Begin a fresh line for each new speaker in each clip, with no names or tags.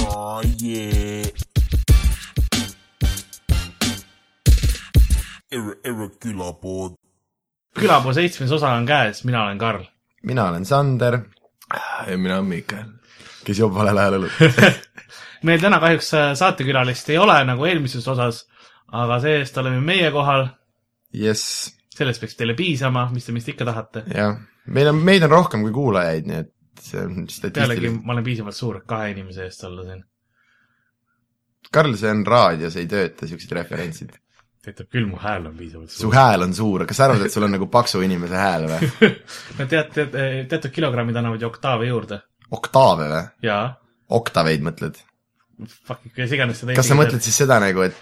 Oh yeah. Erre , Erre külapod .
külapuu seitsmes osa on käes , mina olen Karl .
mina olen Sander ,
ja mina olen Miikael , kes joob valel ajal õlut .
meil täna kahjuks äh, saatekülalist ei ole nagu eelmises osas , aga see-eest oleme meie kohal ,
jess ,
sellest peaks teile piisama , mis te meist ikka tahate .
jah . meil on , meid on rohkem kui kuulajaid , nii et see on
pealegi
statistiliselt .
ma olen piisavalt suur , et kahe inimese eest olla siin .
Karl , see on raadios , ei tööta siuksed referentsid .
töötab küll , mu hääl on piisavalt
su
suur .
hääl on suur , kas sa arvad , et sul on nagu paksu inimese hääl või ?
no tead , tead , teatud kilogrammid annavad ju oktaave juurde
oktaave või ?
ja
oktaveid mõtled ?
fuck , kes iganes seda
kas sa mõtled siis seda nagu , et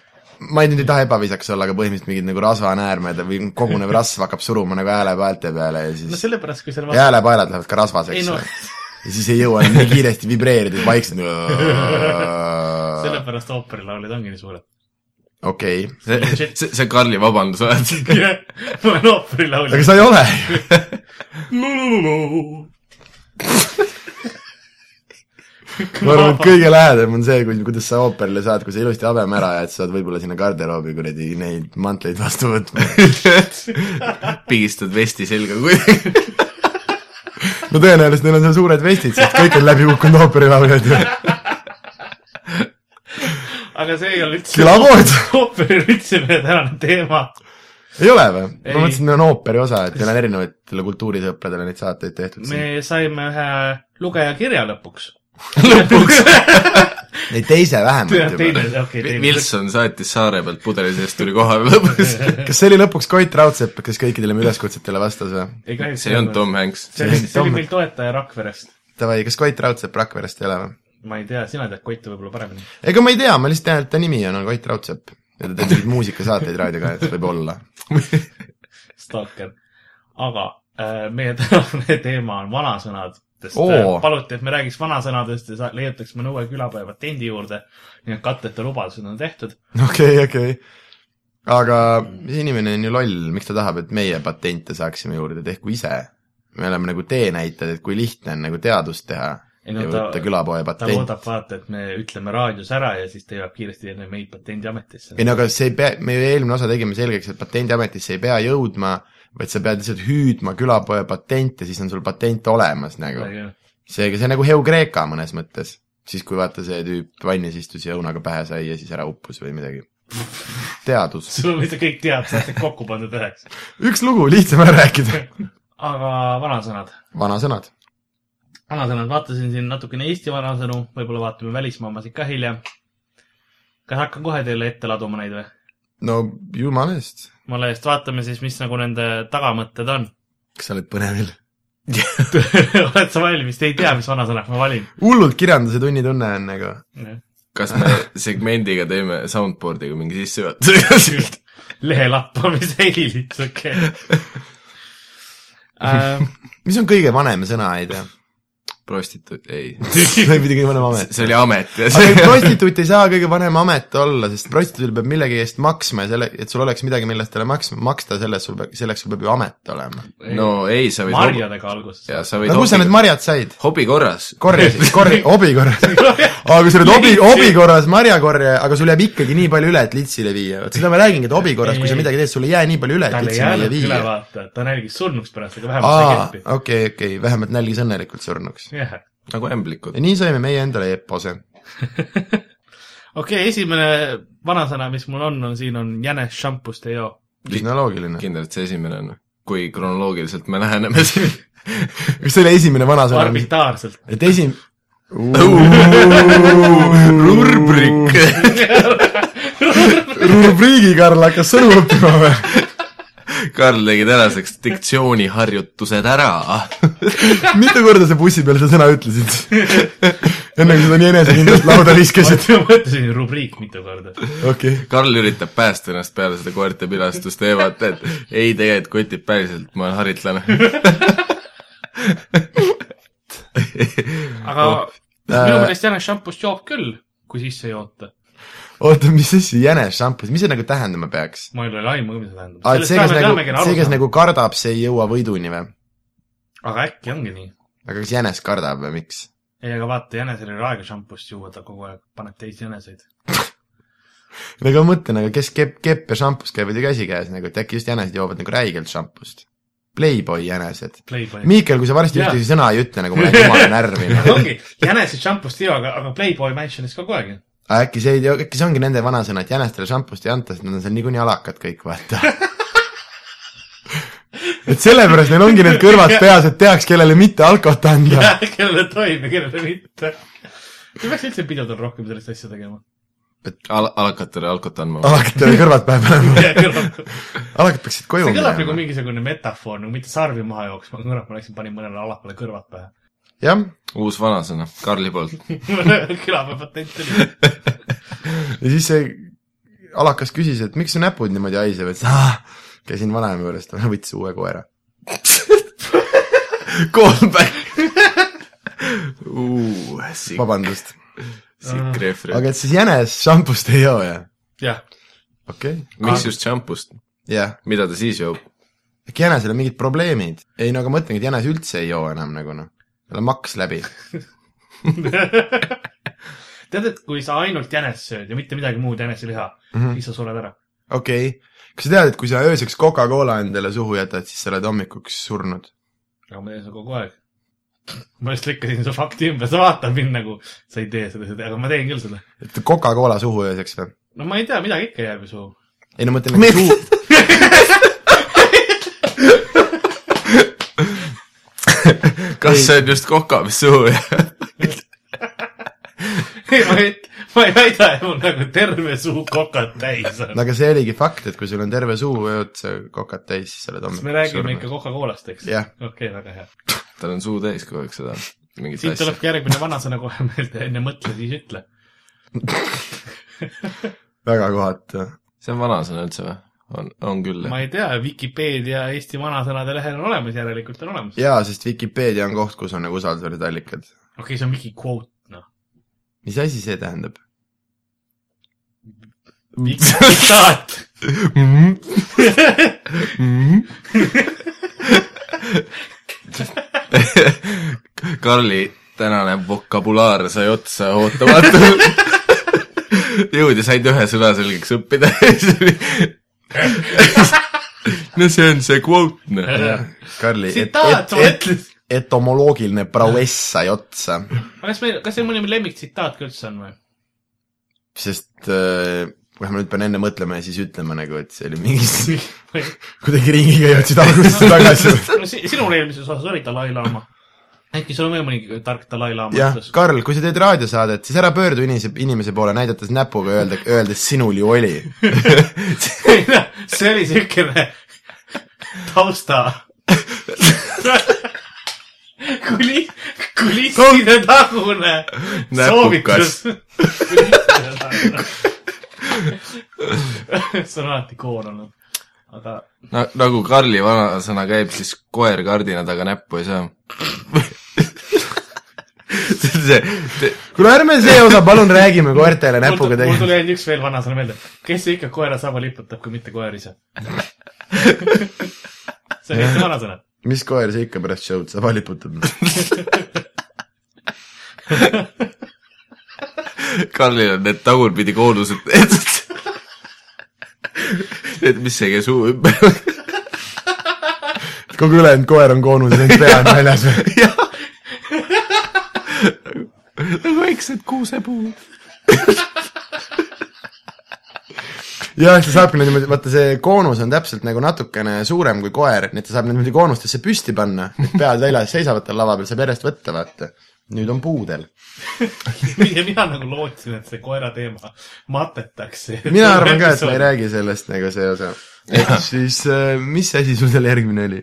ma ei nüüd ei taha ebaviisakas olla , aga põhimõtteliselt mingid nagu rasvanäärmed või kogunev rasv hakkab suruma nagu häälepaelte peale ja
no
siis
sellepärast , kui seal
ja häälepaelad lähevad ka
ei
rasvaseks
no
no. ja siis ei jõua enam nii kiiresti vibreerida , et vaikselt nagu,
sellepärast ooperilaulid ongi nii suured .
okei okay. ,
see , see Karli vabandus oled .
ma olen ooperilaulja
aga . sa ei ole ju . ma arvan , et kõige lähedam on see , kui , kuidas sa ooperile saad , kui sa ilusti habeme ära jääd , saad võib-olla sinna garderoobi kuradi neid mantleid vastu võtma .
pigistad vesti selga kuidagi .
no tõenäoliselt neil on seal suured vestid , sest kõik on läbi kukkunud ooperilauljad ju .
aga see ei ole üldse ,
külapood ,
ooper ei ole üldse meie tänane teema .
ei ole või ?
Ei.
ma mõtlesin , et neil on ooperi osa , et teil on erinevatele kultuurisõpradele neid saateid tehtud siin
me . saime ühe lugeja kirja lõpuks .
ei , teise vähemalt
teine
juba .,
okei , teine .
Wilson saatis saare pealt pudeli seest , tuli kohale lõpuks .
kas see oli lõpuks Koit Raudsepp , kes kõikidele meie üleskutsetele vastas või ?
ei kahjuks
see ei olnud . Tom Hanks .
see oli , see oli
Tom.
meil toetaja Rakverest .
Davai , kas Koit Raudsepp Rakverest ei ole või ?
ma ei tea , sina tead Koitu võib-olla paremini .
ega ma ei tea , ma lihtsalt tean , et ta nimi on , on Koit Raudsepp . ja ta teeb mingeid muusikasaateid raadioga , et võib-olla .
Stalker . aga äh, meie tänane teema on vanasõnad . sest
Oo.
äh, paluti , et me räägiks vanasõnadest ja sa- leiutaksime uue külapäeva tendi juurde . nii et katteta lubadused on tehtud .
okei , okei . aga see inimene on ju loll , miks ta tahab , et meie patente saaksime juurde , tehku ise . me oleme nagu teenäitajad , et kui lihtne on nagu teadust teha
Ei
ei,
no
no, ja
ta-
võtta külapoe
ta
patent .
loodab vaata , et me ütleme raadios ära ja siis ta jõuab kiiresti enne meid patendiametisse .
ei no aga see ei pea , me ju eelmine osa tegime selgeks , et patendiametisse ei pea jõudma , vaid sa pead lihtsalt hüüdma külapoe patent ja siis on sul patent olemas nagu . seega see on nagu Heukreeka mõnes mõttes . siis kui vaata see tüüp vannis istus ja õunaga pähe sai ja siis ära uppus või midagi . teadus .
sul on lihtsalt kõik teadmised kokku pandud üheks .
üks lugu , lihtsam ära rääkida .
aga vanasõnad ,
vanasõnad .
vanasõnad , vaatasin siin natukene Eesti vanasõnu , võib-olla vaatame välismaa omasid ka hiljem . kas hakkan kohe teile ette laduma neid või ?
no jumala eest .
mulle just vaatame siis , mis nagu nende tagamõtted on .
kas sa oled põnevil ?
oled sa valmis , te ei tea , mis vanasõnad ma valin .
hullult kirjanduse tunnitunne on nagu .
kas me segmendiga teeme soundboard'iga mingi sissejuhatuse ?
lehe lappamise helits , okei Äh, okay. .
mis on kõige vanem sõna , ei tea ?
prostituut , ei .
või midagi vanem amet .
see oli amet ja
aga ei,
see .
prostituut ei saa kõige vanem amet olla , sest prostituudil peab millegi eest maksma ja selle , et sul oleks midagi , millest talle maksma , maksta , selles sul peab , selleks sul peab ju amet olema .
no ei , sa võid .
marjadega alguses .
jaa , sa võid
aga kus sa need
hobi ,
marjad said ?
hobi korras .
korjasid , korri- , hobi korras . aga kui sa oled hobi , hobi korras marjakorjaja , aga sul jääb ikkagi nii palju üle , et litsile viia . vot seda ma räägingi , et hobi korras , kui sa midagi teed , sul ei jää nii palju üle , et
tal ei
litsile ei
jäänud üle
viia .
vaata , ta nälgis surnuks pärast , aga vähemalt sai
aa ,
keppi .
okei , okei , vähemalt nälgis õnnelikult surnuks .
jah ,
nagu ämblikud
ja . nii saime meie endale epose .
okei , esimene vanasõna , mis mul on , on siin on jänes šampust ei joo .
üsna loogiline .
kindlalt see esimene on , kui kronoloogiliselt me läheneme siin .
kas see oli esimene vanasõna ?
arbitraarselt .
et esim- .
rubrik .
rubriigi Karl hakkas sõnu õppima või ?
Karl tegi tänaseks diktsiooniharjutused ära . Ah,
mitu korda sa bussi peal seda sõna ütlesid ? enne kui seda nii enesekindlalt lauda viskasid .
ma mõtlesin rubriik mitu korda .
okei okay. .
Karl üritab päästa ennast peale seda koerte pilastusteemat , et ei , tegelikult kotib päriselt , ma olen haritlane .
aga
Oh.
minu
Äh,
meelest jänes šampust joob küll , kui sisse ei oota .
oota , mis asja jänes šampus , mis see nagu tähendama peaks ?
mul ei ole aimu ka , mis see tähendab .
aa , et see , kes nagu , see , kes
Nagu...
nagu kardab , see ei jõua võiduni või ?
aga äkki ongi nii .
aga kas jänes kardab või miks ?
ei , aga vaata , jänesel ei ole aega šampust juua , ta kogu aeg paneb teisi jäneseid .
no aga ma mõtlen , aga kes kepp , kepp ja šampus käivad ju käsikäes nagu , et äkki just jänesed joovad nagu räigelt šampust . Playboy jänesed .
Playboy .
Mihkel , kui sa varsti
Jaa.
ühtegi sõna ei ütle , nagu ma olen jumala närvi . nagu.
ongi , jänesed šampust ei joo , aga , aga Playboy Mansionis kogu aeg ju .
aga äkki see ei tea , äkki see ongi nende vanasõna , et jänestele šampust ei anta , sest nad on seal niikuinii alakad kõik , vaata . et sellepärast neil ongi need kõrvad peas , et teaks , kellele mitte alkot anda .
kellele tohib ja kellele mitte . ei peaks üldse pidevalt rohkem sellist asja tegema .
Al- , alakatele alkot andma .
alakatele kõrvad pähe panema .
see
alakad peaksid koju
kõlab nagu
minema .
mingisugune metafoor , nagu mitte sarvi maha jooksma , aga kurat , ma läksin panin mõnele alapale kõrvad pähe .
jah ,
uus vanasõna , Karli poolt .
kõlab ja patent oli .
ja siis see alakas küsis , et miks su näpud niimoodi haisevad , siis aa , käisin vanaema juures , ta võttis uue koera .
Callback uh, . sikk ,
vabandust .
sikk rehvri .
aga et siis jänes šampust ei joo ja ?
jah ,
okei okay. ,
miks just šampust ,
jah .
mida ta siis joob ?
äkki jänesel on mingid probleemid ? ei no aga ma ütlengi , et jänes üldse ei joo enam nagu noh , tal on maks läbi .
tead , et kui sa ainult jänest sööd ja mitte midagi muud jäneseliha mm , -hmm.
Mhm.
siis sa sured ära .
okei okay. , kas sa tead , et kui sa ööseks Coca-Cola endale suhu jätad , siis sa oled hommikuks surnud ?
aga ma teen seda kogu aeg . ma just lükkasin su fakti ümber , sa vaatad mind nagu , sa ei tee seda , aga ma teen küll seda .
et Coca-Cola suhu ööseks või ?
no ma ei tea , midagi ikka jääb ju suhu .
ei no ma mõtlen nagu suu ,
kas see on just koka , mis suhu jääb ?
ei , ma ei , ma ei väida , et mul nagu terve suu kokad täis on
no . aga see oligi fakt , et kui sul on terve suu , ööd sa kokad täis , siis sa oled
kas me
hommikuks
räägime
surnud
ikka . Coca-Colast , eks ?
Jah.
okei , väga hea .
tal on suu täis kogu aeg seda , mingit
siit
asja .
tulebki järgmine vanasõna kohe meelde , enne mõtle , siis ütle .
väga kohatu .
see on vanasõna üldse või ? on , on küll
ma
jah .
ei tea , Vikipeedia Eesti vanasõnade lehel on olemas , järelikult on olemas .
jaa , sest Vikipeedia on koht , kus on nagu usaldusväärsed allikad .
okei , see on Viki kvoot , noh .
mis asi see tähendab ?
Viki tsitaat .
Karli tänane vokabulaar sai otsa ootamatult . jõudis ainult ühe sõna selgeks õppida . no see on see kvoot , noh .
Karli , et ,
tsitaat ,
et ,
ma
et ,
ütlesin .
etomoloogiline prauess sai otsa ,
aga kas meil , kas see mõni lemmiktsitaat ka üldse on või ?
sest äh, kohe ma nüüd pean enne mõtlema ja siis ütlema nagu , et see oli mingi ,
Või-
kuidagi ringiga jõudsid algusesse tagasi .
no si- sinul eelmises osas oli Dalai-laama . äkki sul on veel mõni tark Dalai-laama
jah
ütlus ?,
Karl , kui sa teed raadiosaadet , siis ära pöördu inimese , inimese poole , näidates näpuga , öelda , öeldes sinul ju oli .
see oli siukene tausta . kuli- , kulisside tagune
Näpukas.
soovitus . see on alati koor olnud , aga
no nagu Karli vanasõna käib , siis koer kardina taga näppu ei saa . see on see ,
kuule , ärme see osa , palun räägime koertele
mul
näpuga
tuli- mul tuli
tegelikult .
ainult üks veel vanasõna meelde . kes ikka koera saba liputab , kui mitte koer ise ? see on Eesti vanasõna .
mis koer see ikka pärast show'd saab , liputab ?
Karlil on need tagurpidi koonused , et et mis see käis suu ümber .
kogu ülejäänud koer on koonus ja ainult pea on väljas .
nagu väiksed kuusepuud .
jah , see saabki niimoodi , vaata see koonus on täpselt nagu natukene suurem kui koer , nii et ta saab need niimoodi koonustesse püsti panna , et pead väljas seisavad tal lava peal , saab järjest võtta , vaata . nüüd on puudel .
ja mina nagu lootsin , et see koera teema matetakse .
mina arvan ka , et ma ei . räägi sellest nagu see osa . ehk siis , mis asi sul seal järgmine oli ?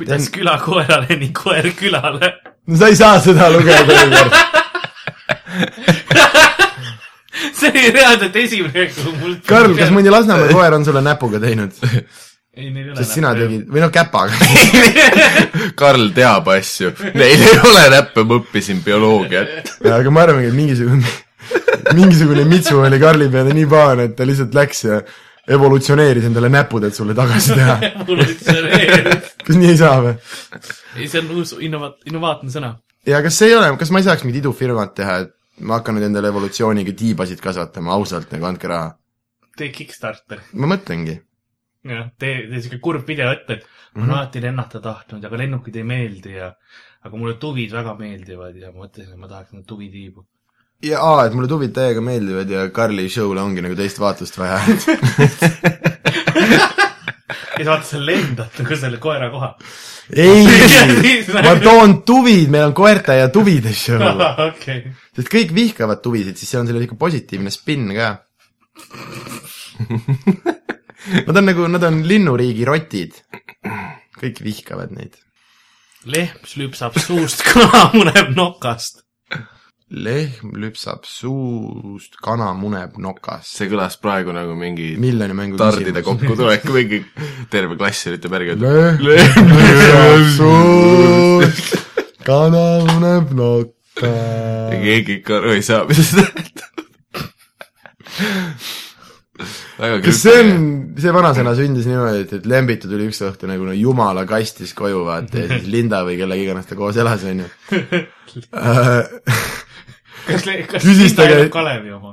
kuidas külakoerale , nii koer külale .
no sa ei saa seda lugeda ümber .
see oli reaalselt esimene , kui mul .
Karl , kas mõni Lasnamäe koer on sulle näpuga teinud ?
ei , neil ei ole .
sest sina . tegid , või noh , käpaga .
Karl teab asju , neil ei ole näppe , ma õppisin bioloogiat .
aga ma arvangi , et mingisugune , mingisugune mitsu oli Karli peale nii pahane , et ta lihtsalt läks ja evolutsioneeris endale näpud , et sulle tagasi teha .
evolutsioneeris .
kas nii ei saa või ?
ei , see on uus innova- , innovaatne sõna .
ja kas see ei ole , kas ma ei saaks mingit idufirmat teha , et ma hakkan nüüd endale evolutsiooniga tiibasid kasvatama ausalt , nagu andke raha .
tee Kickstarter ,
ma mõtlengi .
jah , tee , tee siuke kurb video ette , et ma olen mm -hmm. alati lennata tahtnud , aga lennukid ei meeldi ja , aga mulle tuvid väga meeldivad ja ma mõtlesin , et ma tahaks neid tuvitiibu .
ja aa , et mulle tuvid täiega meeldivad ja Karli show'le ongi nagu teist vaatust vaja .
ja sa vaata , sa lendad nagu selle koera koha .
ei , ma toon tuvid , meil on koerte ja tuvide show .
okei ,
sest kõik vihkavad tuvisid , siis see on sellel ikka positiivne spinn ka . Nad on nagu , nad on linnuriigi rotid . kõik vihkavad neid .
lehm lüpsab suust , kana muneb nokast .
lehm lüpsab suust , kana muneb nokast .
see kõlas praegu nagu mingi
miljoni mängu
tardide . kokkutulek , mingi terve klass üritab järgi öelda .
lehm lüpsab suust , kana muneb nokast .
keegi ikka aru ei saa , mis see tähendab . väga
kas see on , see vanasõna sündis niimoodi , et , et Lembitu tuli üks õhtu nagu no jumala kastis koju , vaata , ja siis Linda või kellega iganes ta koos elas , onju . Äh,
kas , kas
Küsis
Linda
ta-
elab Kalevi oma ?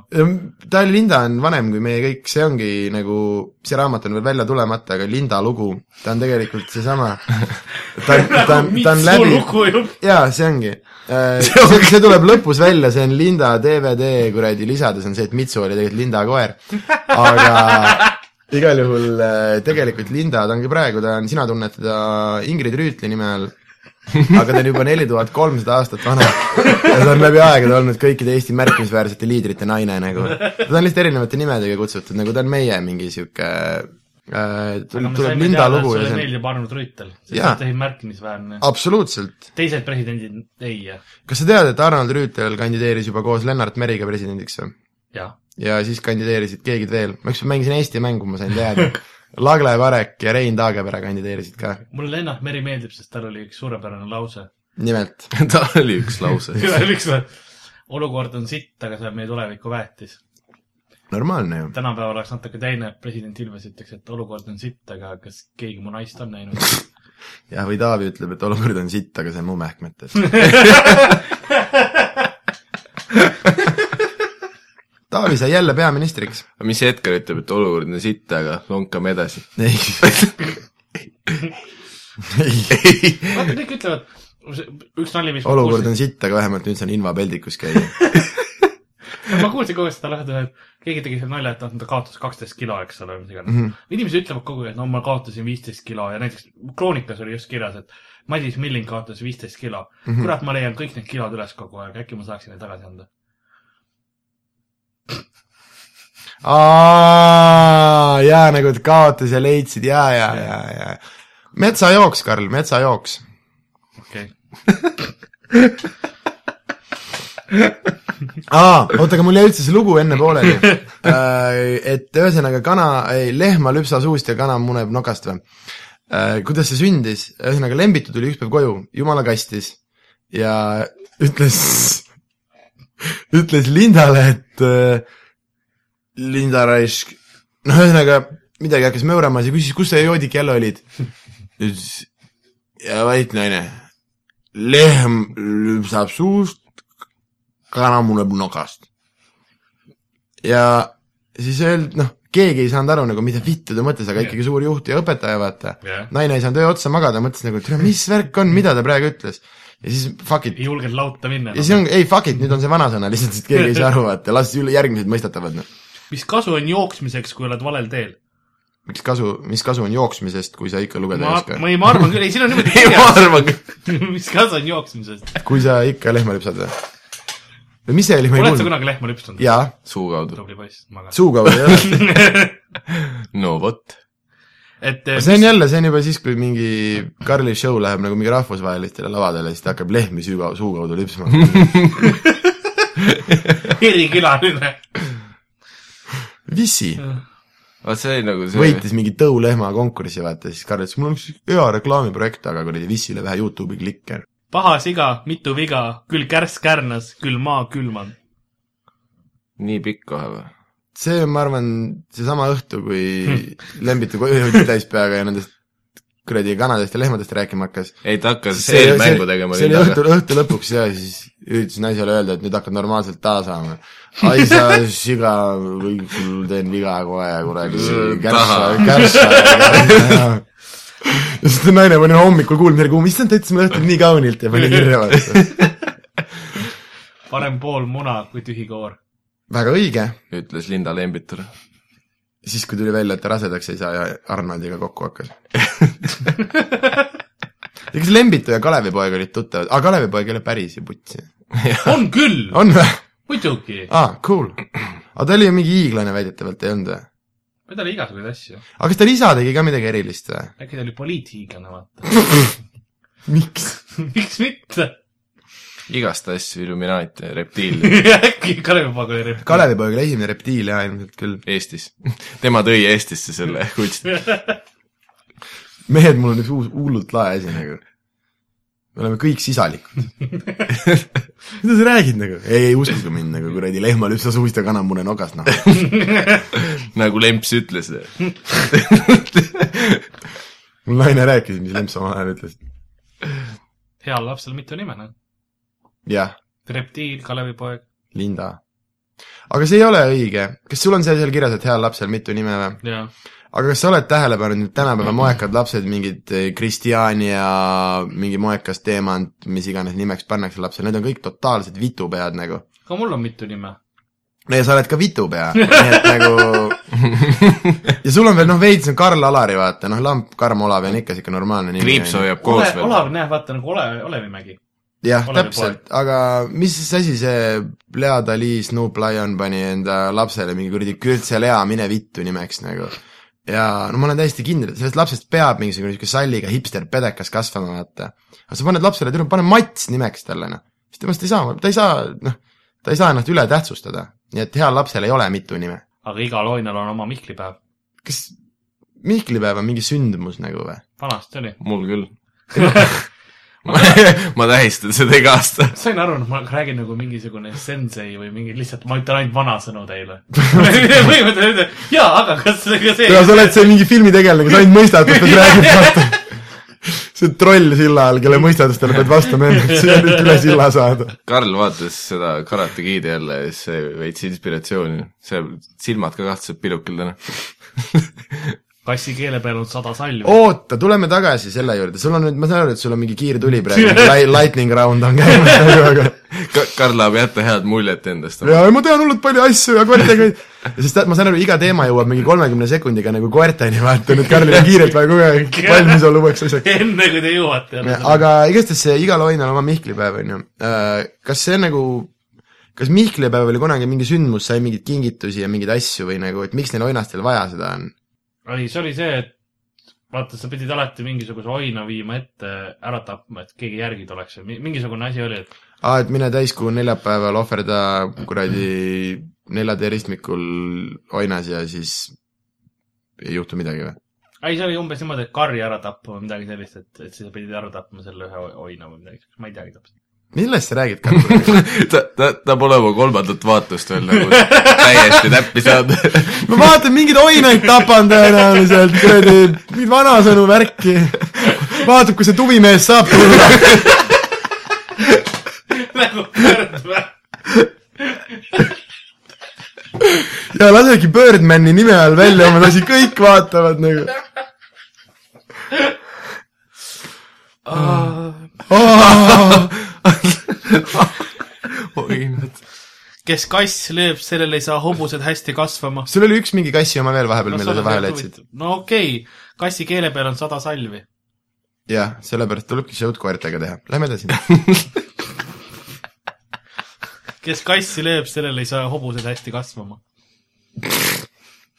ta , Linda on vanem kui meie kõik , see ongi nagu , see raamat on veel välja tulemata , aga Linda lugu , ta on tegelikult seesama , ta , ta , ta on läbi , jaa , see ongi . See, see tuleb lõpus välja , see on Linda DVD kuradi lisades on see , et Mitsu oli tegelikult Linda koer , aga igal juhul äh, tegelikult Linda , ta ongi praegu , ta on , sina tunned teda Ingrid Rüütli nime all , aga ta on juba neli tuhat kolmsada aastat vana ja ta on läbi aegade olnud kõikide Eesti märkimisväärsete liidrite naine nagu . teda on lihtsalt erinevate nimedega kutsutud , nagu ta on meie mingi sihuke äh, , tuleb Linda lugu
ja
ja
see .
see on
meeldib Arnold Rüütel , sest
Jaa.
ta tegi märkimisväärne .
absoluutselt
teised presidendid ei ,
kas sa tead , et Arnold Rüütel kandideeris juba koos Lennart Meriga presidendiks või ?
jah .
ja siis kandideerisid keegi veel , ma ükskord mängisin Eesti mängu , ma sain teada . Lagle Varek ja Rein Taagepera kandideerisid ka ,
mulle Lennart Meri meeldib , sest tal oli üks suurepärane lause .
nimelt .
tal oli üks lause .
seal oli üks , olukord on sitt , aga see on meie tuleviku väetis .
normaalne ju .
tänapäeval oleks natuke teine , president Ilves ütleks , et olukord on sitt , aga kas keegi mu naist on näinud ?
jah , või Taavi ütleb , et olukord on sitt , aga see on mu mähkmetes Taavi sai jälle peaministriks .
mis Edgar ütleb , et olukord on sitt , aga lonkame edasi .
ei , ei .
vaata , kõik ütlevad , üks nali , mis ma
olukord
kuulsin ,
on sitt , aga vähemalt nüüd saan invapeldikus käia .
ma kuulsin kogu aeg seda lahti , et keegi tegi selle nalja , et noh, ta kaotas kaksteist kilo , eks ole , mis iganes .
Mhm.
inimesed ütlevad kogu aeg , et no ma kaotasin viisteist kilo ja näiteks Kroonikas oli just kirjas , et Madis Milling kaotas viisteist kilo mm .
Mhm.
-hmm. kurat , ma leian kõik need kilod üles kogu aeg , äkki ma saaksin need tagasi anda .
aa , jaa , nagu et kaotas ja leidsid ja , ja , ja , ja . metsajooks , Karl , metsajooks .
okei okay. ,
aa , oota , aga mul jäi üldse see lugu enne pooleli . et ühesõnaga kana , ei , lehma lüpsa suust ja kana muneb nokast või ? kuidas see sündis , ühesõnaga Lembitu tuli ükspäev koju , jumala kastis ja ütles , ütles Lindale , et äh, Linda raisk , noh , ühesõnaga midagi hakkas möörama , siis küsis , kus sa joodik jälle olid . ütles , ja vait naine , lehm lüpsab suust , kana muneb nokast . ja siis öeldi , noh , keegi ei saanud aru nagu , mida vittu ta mõtles , aga ikkagi suur juht ja õpetaja , vaata
Jah.
naine ei saanud öö otsa magada , mõtles nagu , et türa, mis värk on , mida ta praegu ütles . ja siis fuck it ,
ei julgenud lauta minna
ja siis . on , ei fuck it , nüüd on see vanasõna lihtsalt , sest keegi ei saa aru , vaata , las üle järgmised mõistatavad , noh .
mis kasu on jooksmiseks , kui oled valel teel ?
miks kasu , mis kasu on jooksmisest , kui sa ikka lugeda ei
ma ,
oska ?
ma ei , ma arvan küll , ei siin on niimoodi
ei , ma
kirjas ,
arvan ka .
mis kasu on jooksmisest .
kui sa ikka lehma lüpsad või ? või mis see oli , ma ei
oled sa
kuulnud .
kunagi lehma lüpsnud ?
jaa ,
suu kaudu .
tubli poiss , maga .
suu kaudu jah .
no vot .
et
see on jälle , see on juba siis , kui mingi Karli show läheb nagu mingi rahvusvahelistele lavadele , siis ta hakkab lehmi süü , suu kaudu lüpsma .
erikülaline .
vissi
vaat see oli nagu see .
võitis mingi tõulehma konkursi , vaata , siis Karl ütles , mul on üks hea reklaamiprojekt , aga kuradi vissile vähe Youtube'i klikke .
paha siga , mitu viga , küll kärss kärnas , küll maa külmand .
nii pikk kohe või ?
see , ma arvan , seesama õhtu , kui Lembitu koju jõudis täis peaga ja nendest kuradi kanadest ja lehmadest rääkima hakkas .
ei , ta hakkas eelmängu tegema
see oli
rinnaga.
õhtul , õhtu lõpuks ja siis üritasin naisele öelda , et nüüd hakkad normaalselt taha saama . ai sa siga , sul teen viga kohe ja kuradi
Äh,
kärssa , kärssa . ja siis ta naine pani hommikul kuulma järgi , "Oh, issand , ta ütles mulle õhtul nii kaunilt ja pani kirja vaata .
parem pool muna kui tühi koor .
väga õige ,
ütles Linda Lembitur .
siis kui tuli välja , et ta rasedaks ei saa ja Arnoldiga kokku hakkas . ja kas Lembitu ja Kalevipoeg olid tuttavad , aa Kalevipoeg ei ole päris ju putsi .
on küll ,
on või ?
muidugi .
aa , cool . aga ta oli ju mingi hiiglane väidetavalt , ei olnud või ?
meil oli igasuguseid asju .
aga kas tal isa tegi ka midagi erilist või ?
äkki ta oli poliithiiglane , vaata .
miks ?
miks mitte ?
igast asju , Illuminaat ja reptiil
äkki Kalevipoeg oli rep- .
Kalevipoeg oli esimene reptiil jaa , ilmselt küll .
Eestis . tema tõi Eestisse selle kunsti .
mehed , mul on üks uus hullult lae asi nagu . me oleme kõik sisalikud . mida sa räägid nagu ? ei , ei uskuge mind nagu , kuradi lehmal üpsa suust ja kanamune nogas , noh .
nagu Lemps ütles .
mul naine rääkis , mis Lemps omal ajal ütles .
heal lapsel mitu nime , noh .
jah ,
reptiil , Kalevipoeg ,
Linda . aga see ei ole õige . kas sul on see seal kirjas , et heal lapsel mitu nime või ?
jaa .
aga kas sa oled tähele pannud , et tänapäeva moekad lapsed mingid Kristjania , mingi moekas teemant , mis iganes nimeks pannakse lapsele , need on kõik totaalsed vitupead nagu .
ka mul on mitu nime .
ja sa oled ka vitupea , nii et nagu ja sul on veel noh , veits on Karl Alari , vaata noh , lamp Karm Olavi on ikka siuke normaalne nimi .
kriips . hoiab koos
Ole ,
veel .
Olav näeb , vaata nagu Ole , Olevimägi .
jah ,
Olavi
täpselt , aga mis asi see Lea Dali Snoop Lion pani enda lapsele mingi kuradi Kürtse Lea mine vittu nimeks nagu . ja no ma olen täiesti kindel , et sellest lapsest peab mingisugune niisugune salliga hipster pedekas kasvama , vaata . aga sa paned lapsele , tule pane Mats nimeks talle , noh . siis temast ei saa , ta ei saa , noh , ta ei saa ennast üle tähtsustada . nii et heal lapsel ei ole mitu nime .
aga igal oinel on oma Mihklipäev .
kas Mihklipäev on mingi sündmus nagu või ?
vanasti oli .
mul küll ma, ma tähistan seda iga aasta .
sain aru , et ma räägin nagu mingisugune sensei või mingi lihtsalt , ma ütlen ainult vanasõnu teile . põhimõtteliselt ütlen , jaa , aga kas , kas
ja sa
see
oled see mingi filmitegelane , kes ainult mõistatustest räägib , vaata . see troll silla all , kelle mõistatustele pead vastama , et sa ei nüüd üle silla saada .
Karl vaatas seda Karate Kidi jälle ja siis sai veits inspiratsiooni . seal silmad ka kahtlaselt pilukil täna .
kassi keele peal on sada salmi .
oota , tuleme tagasi selle juurde , sul on nüüd , ma saan aru , et sul on mingi kiirtuli praegu , lightning round on käimas nagu , aga
Karl tahab jätta head muljet endast .
ja ma tean hullult palju asju ja koertega , sest tead, ma saan aru , iga teema jõuab mingi kolmekümne sekundiga nagu koerteni , vaata nüüd Karlil on kiirelt vaja kogu aeg valmis olla uueks asjaks .
enne kui te jõuate . nagu-
Ja, aga igastahes see igal oinel oma Mihklipäev on ju , kas see on nagu , kas Mihklipäev oli kunagi mingi sündmus , sai mingeid kingitusi ja mingeid asju või nagu , et miks neil oinastel vaja seda on ?
ei , see oli see , et vaata , sa pidid alati mingisuguse oina viima ette , ära tapma , et keegi järgi tuleks või mi- mingisugune asi oli , et
aa , Ah, et mine täiskuu neljapäeval ohverda kuradi neljateeristmikul oinas ja siis ei juhtu midagi või ?
ei , see oli umbes niimoodi , et karja ära tappa või midagi sellist , et , et siis sa pidid ära tapma selle ühe o- oina või midagi , ma ei teagi täpselt .
millest sa räägid , Karl ?
ta , ta , ta pole oma kolmandat vaatust veel nagu täiesti täppi saanud .
ma vaatan , mingeid oinaid tapan tõenäoliselt , kuradi , mingit vanasõnu värki . vaatab , kui see tuvimees saab tulla .
nagu pöördme .
ja lasebki Birdmani nime all välja oma asi , kõik vaatavad nagu oh, .
oi ,
kes kass lööb , sellel ei saa hobused hästi kasvama .
sul oli üks mingi kassi oma veel vahepeal , mille sa vahele jätsid ?.
no okei okay. , kassi keele peal on sada salvi .
jah , sellepärast tulebki show'd koertega teha , lähme edasi .
kes kassi lööb , sellel ei saa hobused hästi kasvama .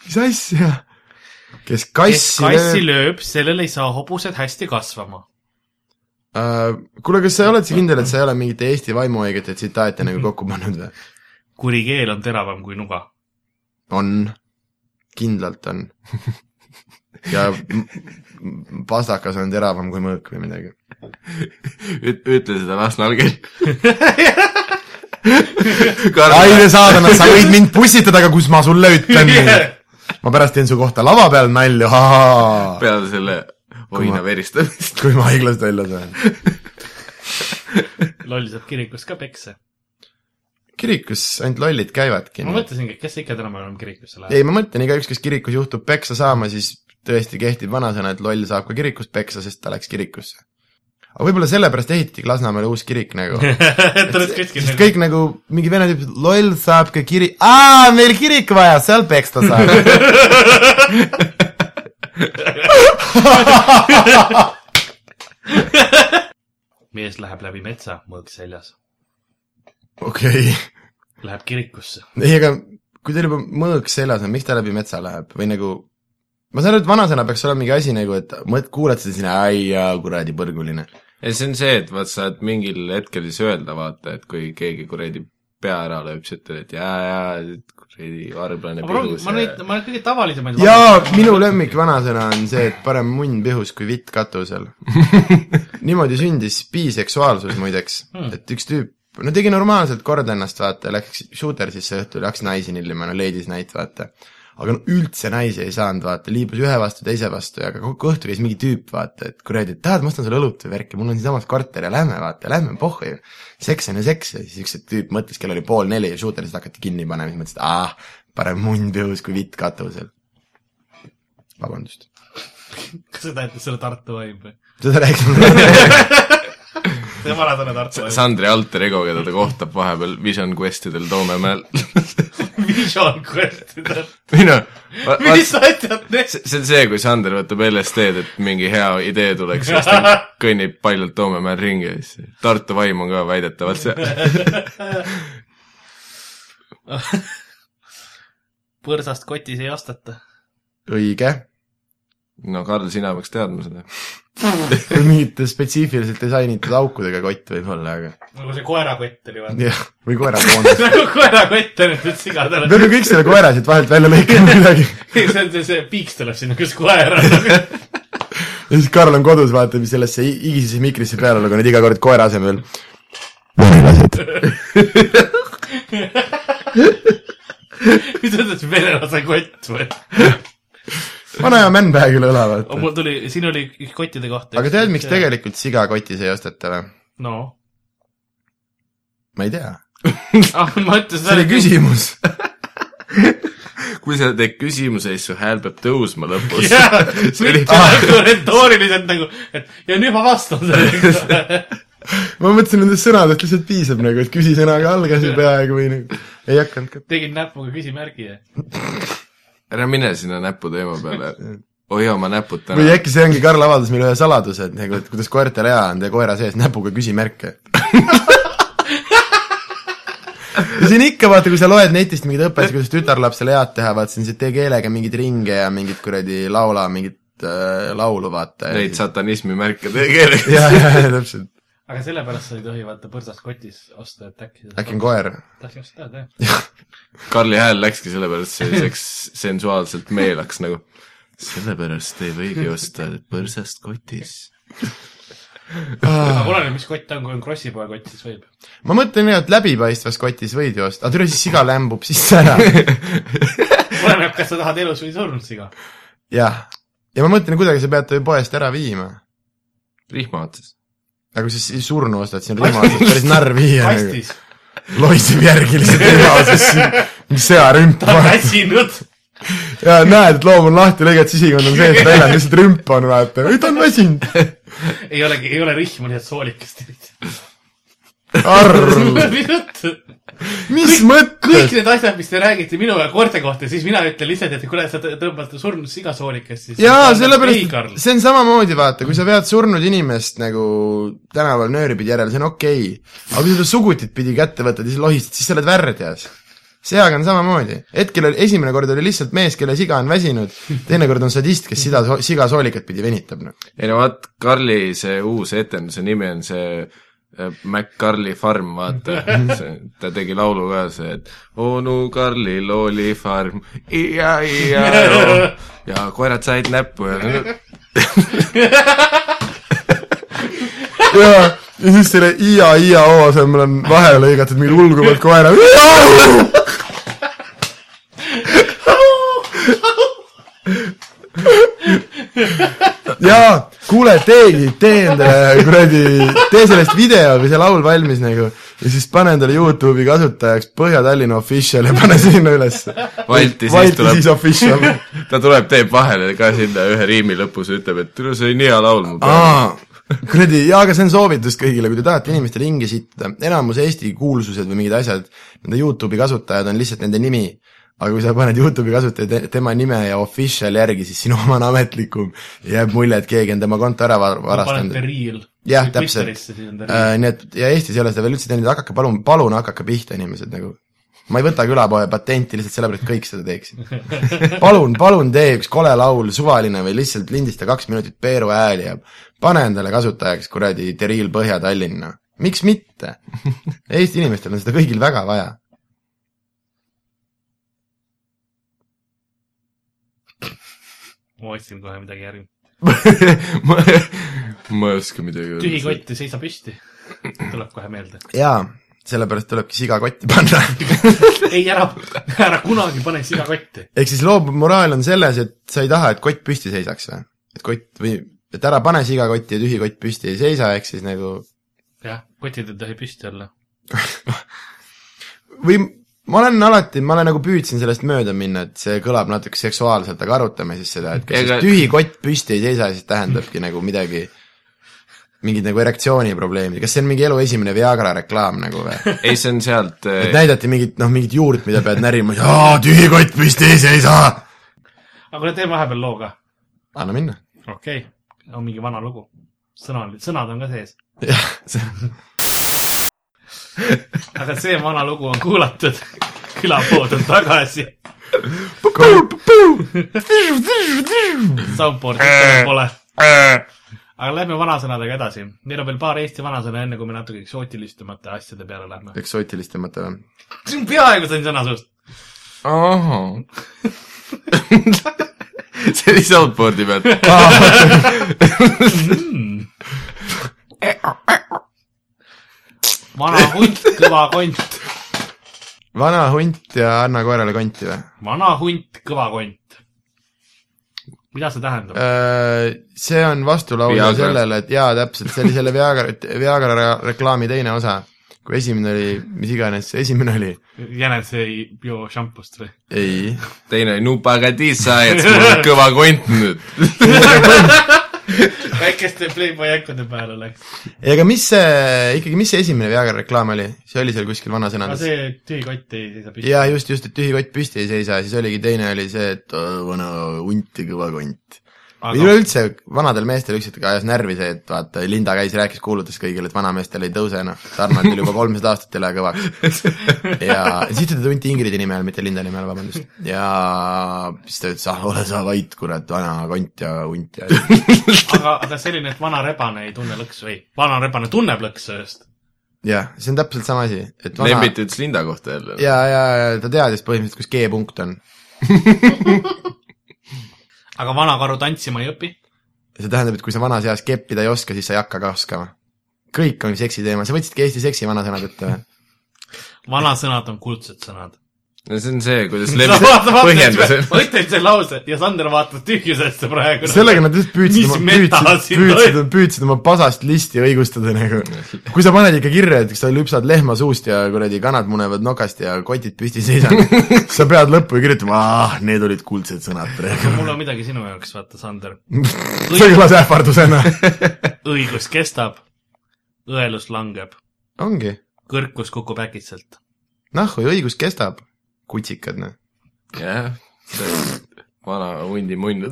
mis asja ?
kes
kes kassi
kassi
lööb ?
lööb , sellel ei saa hobused hästi kasvama .
Äh, kuule , kas sa oled sa kindel , et sa ei ole mingite Eesti vaimuhaigete tsitaate nagu kokku pannud või ?
kuri keel on teravam kui nuga .
on , kindlalt on . ja m- m- pastakas on teravam kui mõõk või midagi .
ütle seda Lasnamäel .
Aine
Karl ,
saadana , noh, sa võid mind pussitada , aga kus ma sulle ütlen . ma pärast teen su kohta lava peal nalju , ahhaa .
peale selle hoina veristamist .
kui ma haiglast välja sain .
loll saab kirikus ka peksa .
kirikus ainult lollid käivadki .
ma mõtlesingi , et kes ikka tänapäeval enam kirikusse läheb .
ei , ma mõtlen , igaüks , kes kirikus juhtub peksa saama , siis tõesti kehtib vanasõna , et loll saab ka kirikus peksa , sest ta läks kirikusse . aga võib-olla sellepärast ehitigi Lasnamäele uus kirik nagu .
et ta oleks
sest
kuskil .
kõik nagu , mingi vene tüüp , loll saab ka kiri- , aa , meil kirik vaja , seal peksta saab .
mees läheb läbi metsa , mõõk seljas .
okei ,
Läheb kirikusse .
ei aga kui teil juba mõõk seljas on , miks ta läbi metsa läheb või nagu ma saan aru , et vanasõna peaks olema mingi asi nagu , et mõt- , kuulad seda sinna , ai jaa , kuradi põrguline .
ja see on see , et vaat saad mingil hetkel siis öelda , vaata , et kui keegi kuradi pea ära lööb , siis ütled , et jaa , jaa , kuradi varblane
ma proovin ,
pilgus
ma neid , ma kõige tavalisemaid .
jaa , minu lemmik vanasõna on see , et parem munn pihus kui vitt katusel . niimoodi sündis biseksuaalsus muideks
Hmm.
hmm. , et üks tüüp , no tegi normaalselt korda ennast , vaata , läks shooter sisse õhtul , hakkas naisi nillima , no ladies night , vaata . aga no üldse naisi ei saanud , vaata , liibus ühe vastu , teise vastu ja ka kokku õhtul käis mingi tüüp , vaata , et kuradi , et tahad , ma ostan sulle õlut või värki , mul on siinsamas korter ja lähme , vaata , lähme pohhu ju . seks on ju seks ja siis üks tüüp mõtles , kell oli pool neli ja shooter seda hakati kinni panema , siis mõtles , et ah , parem munn pihus kui vitt katusel vabandust .
kas sa tähendad selle Tartu vaim või ?
seda rääkisime .
see on vanasõna Tartu vaim .
Sandri alter ego , keda ta kohtab vahepeal Vision Questidel Toomemäel .
Visual Quest , mis
või noh , see
asjad need
see on see , kui Sander võtab LSD-d , et mingi hea idee tuleks ja siis ta kõnnib paljalt Toomemäel ringi ja siis Tartu vaim on ka väidetavalt see .
põrsast kotis ei osteta .
õige .
no Karl , sina peaks teadma seda .
või mingite spetsiifiliselt disainitud aukudega kott võib-olla , aga
nagu see koerakott oli vaata .
jah , või koerakoondis .
nagu koerakott on nüüd siga
me
täna .
peame kõik selle koera siit vahelt välja lõikama midagi .
see on see , see piiks tuleb sinna , kus koer on .
ja siis Karl on kodus , vaatab sellesse i- higisesse mikrisse peale , aga nüüd iga kord koera asemel .
mis sa ütled , venelase kott või ?
vana hea männpäev küll õlavad .
mul tuli , siin oli üks kottide kohta .
aga tead , miks ? tegelikult siga kotis ei osteta või ?
no ,
ma ei tea .
ah ma ütlesin .
see oli . küsimus .
kui sa teed küsimuse , siis su hääl peab tõusma lõpus .
jaa ,
See oli-
mitte nagu retooriliselt nagu , et ja nüüd ma vastan sellele .
ma mõtlesin , nendest sõnadest lihtsalt piisab nagu , et küsisõnaga algasid peaaegu või nagu ei hakanud ka .
tegid näpuga küsimärgi ja
ära mine sinna näpu teema peale . hoia oma näpud täna .
või äkki see ongi , Karl avaldas meile ühe saladuse , et nagu , et kuidas koertel hea on teha koera sees näpuga küsimärke . ja siin ikka vaata , kui sa loed netist mingeid õppetusi , kuidas tütarlapsele head teha , vaata siin see tee keelega mingeid ringe ja mingit kuradi laula , mingit äh, laulu vaata .
Neid satanismi märke teie keelega .
jah , jah , täpselt ,
aga sellepärast sa ei tohi vaata põrsast kotis osta , et äkki .
äkki on . koer .
tahtsin just teada , jah .
Karli hääl läkski sellepärast selliseks sensuaalselt meelaks nagu . sellepärast ei võigi osta põrsast kotis .
aga oleneb , mis kott ta on , kui on krossipoe kott , siis võib .
ma mõtlen jah , et läbipaistvas kotis võid ju osta , aga tule siis siga lämbub sisse ära .
oleneb , kas sa tahad elus või surnud siga .
jah , ja ma mõtlen , kuidagi sa pead ta ju poest ära viima .
rihma otsas .
aga kui sa siis surnu ostad , siis on võimalus päris narr viia . nagu.
kastis ,
lohiseb järgi lihtsalt ilmaosesse , mingi sõjarümp
ta on
vaata .
väsinud .
ja näed , et loom on lahti lõigad sisikond on sees , välja on lihtsalt rümp on vaata , ei ta on väsinud .
ei olegi , ei ole rihma , nii et soolikest .
Arl ,
mis juttu ?
mis
kõik
mõttes ?
need asjad , mis te räägite minu ja koerte kohta , siis mina ütlen lihtsalt , et kuule , sa tõ- tõmbad surnud siga soolikest , siis .
jaa , sellepärast , see on samamoodi , vaata , kui sa vead surnud inimest nagu tänaval nööri pidi järele , see on okei okay. . aga kui sa ta sugutit pidi kätte võtad ja siis lohistad , siis sa oled värdjas . seaga on samamoodi . hetkel oli , esimene kord oli lihtsalt mees , kelle siga on väsinud , teinekord on sadist , kes sida , siga soolikat pidi venitab , noh .
ei no vaat , Karli see uus etenduse nimi on see äh, Mac Carli farm , vaata , ta tegi laulu ka see , et onu Karlil oli farm , ja-ja-joo , ja koerad said näppu ja
ja , ja siis selle ia , ia o asemel on vahele lõigatud mingi ulguvad koera . ja kuule , tee , tee endale kuradi , tee sellest video või see laul valmis nagu ja siis pane endale Youtube'i kasutajaks Põhja-Tallinna Official ja pane sinna ülesse .
Balti siis
Balti
tuleb ,
siis Official .
ta tuleb , teeb vahele ka sinna ühe riimi lõpus ja ütleb , et tule , see on hea laul mu peal .
aa , kuradi , jaa , aga see on soovitus kõigile , kui te tahate inimeste ringi sitta , enamus Eesti kuulsused või mingid asjad , nende Youtube'i kasutajad on lihtsalt nende nimi . aga kui sa paned Youtube'i kasutaja te- tema nime ja official järgi , siis sinu oma on ametlikum , jääb mulje , et keegi on tema konto ära var-
paned
varastanud
The . Real .
Jah, täpselt.
siis on The Real .
Äh, nii et ja Eestis ei ole seda veel üldse teinud , hakake palun , palun hakake pihta , inimesed nagu . ma ei võta külapoe patenti lihtsalt sellepärast , et kõik seda teeksid . palun , palun tee üks kole laul , suvaline või lihtsalt lindista kaks minutit Peeru hääli ja pane endale kasutajaks kuradi Teriil Põhja-Tallinna . miks mitte ? Eesti inimestel on seda kõigil väga vaja . Äh.
ma otsin kohe midagi järgi .
ma ma ei oska midagi öelda .
tühi . kott ei seisa püsti . tuleb kohe meelde .
jaa , sellepärast tulebki siga kotti panna
ei , ära , ära kunagi pane siga kotti .
ehk siis loo moraal on selles , et sa ei taha , et kott püsti seisaks või ? et kott või , et ära pane siga kotti ja tühi kott püsti ei seisa , ehk siis nagu
jah , kotid ei tohi püsti olla .
või ma olen alati , ma olen nagu püüdsin sellest mööda minna , et see kõlab natuke seksuaalselt , aga arutame siis seda , et kas
Ega-
Ega... tühi kott püsti ei seisa , siis tähendabki nagu midagi , mingid nagu erektsiooniprobleemid , kas see on mingi elu esimene Viagra reklaam nagu või ?
ei , see on sealt , eh,
et näidati mingit , noh , mingit juurt , mida pead närima , jaa , tühi kott püsti ei seisa .
aga kuule , teeme vahepeal loo ka .
anna minna .
okei okay. , on mingi vana lugu . sõna , sõnad on ka sees .
jah , see
aga see vana lugu on kuulatud . külapood on tagasi . Soundboard'i ikka pole .
Äh,
aga lähme vanasõnadega edasi . meil on veel paar Eesti vanasõna , enne kui me natuke eksootilisemate asjade peale lähme .
eksootilisemate või ?
peaaegu sain sõna suust .
ahah see oli soundboard'i pealt .
vana hunt , kõva kont .
vana hunt ja anna koerale konti või ?
vana hunt , kõva kont . mida see tähendab ?
Äh, See on vastulause
Viagra.
sellele , et jaa , täpselt , see oli selle Viagra , Viagra re- reklaami teine osa , kui esimene oli , mis iganes see esimene oli ,
jänes ei joo šampust või ?
ei ,
teine oli Nupa Kadisa ja siis mul on kõva kont nüüd .
väikeste Playboy äkkude peale läks .
ei aga mis see , ikkagi mis see esimene Viagra reklaam oli , see oli seal kuskil
aga
vanasõnades ?
see tühi kott ei seisa püsti .
jaa , just , just , et tühi kott püsti ei seisa ja siis oligi teine oli see , et "Öö, vana hunt ja kõva kont . või
aga
üleüldse vanadel meestel ükskord ajas närvi see , et vaata , Linda käis , rääkis , kuulutas kõigile , et vanameestel ei tõuse enam , Tarmo tuli juba kolmsada aastat üle kõvaks . ja siis teda tunti Ingridi nime all , mitte Linda nime all , vabandust . ja siis ta ütles , ah ole sa vait , kurat , vana kont ja hunt ja
aga , aga selline , et vana rebane ei tunne lõksu , ei , vana rebane tunneb lõksu just .
jah , see on täpselt sama asi , et vana
Lembit ütles Linda kohta jälle .
ja , ja , ja ta teadis põhimõtteliselt , kus G-punkt on .
aga vana karu tantsima ei õpi .
see tähendab , et kui sa vanas eas keppida ei oska , siis sa ei hakka ka oskama . kõik on seksi teema , sa võtsidki Eesti seksi vanasõna kätte või ?
vanasõnad on kuldsed sõnad .
no see on see , kuidas Lembit
ma
põhjendas , et
ütlen selle lause ja Sander vaatas tühjusesse praegu .
sellega nad lihtsalt püüdsid
Mis
oma ,
meta
püüdsid ,
siin
püüdsid , püüdsid oma pasast listi õigustada nagu . kui sa paned ikka kirja , et sa lüpsad lehma suust ja kuradi kanad munevad nokast ja kotid püsti seisavad , sa pead lõppu ju kirjutama , ah , need olid kuldsed sõnad praegu .
mul on midagi sinu jaoks , vaata , Sander .
see kõlas ähvardusena .
õigus kestab , õelus langeb ,
ongi ,
kõrkus kukub äkitselt .
nahhu ja õigus kestab , kutsikad noh .
jah , see vana hundi munn .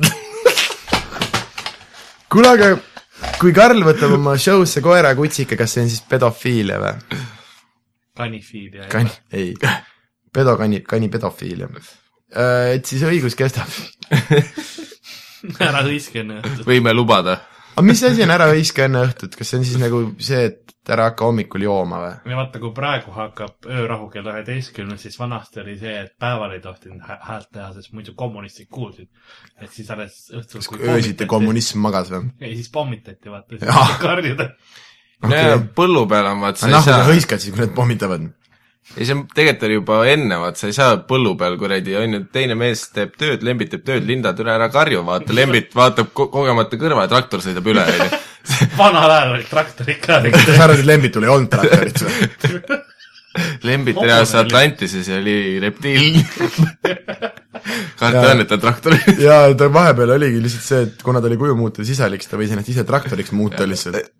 kuule , aga kui Karl võtab oma show'sse koera kutsika , kas see on siis pedofiilia või ?
kanifiid ja
kani , ei , pedokani , kanipedofiilia . Äh, et siis õigus kestab
ära hõiska enne õhtut .
võime lubada .
aga mis asi on ära hõiska enne õhtut , kas see on siis nagu see , et ära hakka hommikul jooma või ?
ja vaata , kui praegu hakkab öörahu kell üheteistkümnes , siis vanasti oli see , et päeval ei tohtinud hä- häält teha , sest muidu kommunistid kuulsid . et siis alles õhtul .
öösiti . kommunism magas või ?
ei , siis pommitati , vaata , siis
Jah.
karjuda .
Okay. põllu peal on vaata , sa ei
nahku noh, sa
saa ,
hõiskad siis , kui nad pommitavad ?
ei , see on tegelikult oli juba enne , vaat sa ei saa põllu peal kuradi , on ju , teine mees teeb tööd , Lembit teeb tööd , Linda , tule ära karju , vaata , Lembit vaatab ko kogemata kõrva ja traktor sõidab üle , on ju .
vanal ajal oli traktor ikka .
sa arvad , et Lembitul ei olnud traktorit või ?
Lembit reas Atlantises ja oli reptiil . karta on , et ta on traktor .
jaa , ta vahepeal oligi lihtsalt see , et kuna ta oli kuju muuta sisalik , siis ta võis ennast ise traktoriks muuta
Äh,
lihtsalt .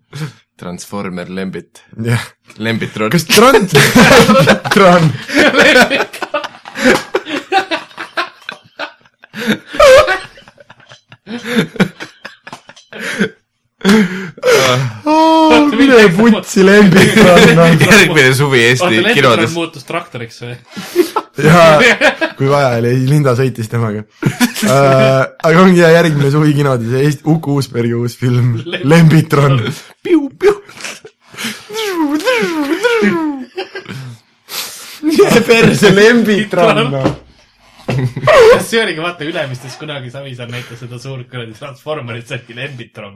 Transformer Lembit ,
jah .
Lembit Rock .
kas Tron , Tron , mine putsi , Lembit Tron ,
järgmine suvi Eesti
oota , Lendikron
kinodes .
muutus traktoriks või ?
jaa , kui vaja oli , Linda sõitis temaga uh, . aga ongi hea järgmine suvi kinodes Eesti , Uku Uusbergi uus film , Lembitron . mine perse , Lembitron no. .
kas see oligi , vaata Ülemistes kunagi Savisaar näitas seda suurt kuradi Transformerit , see oligi Lembitron .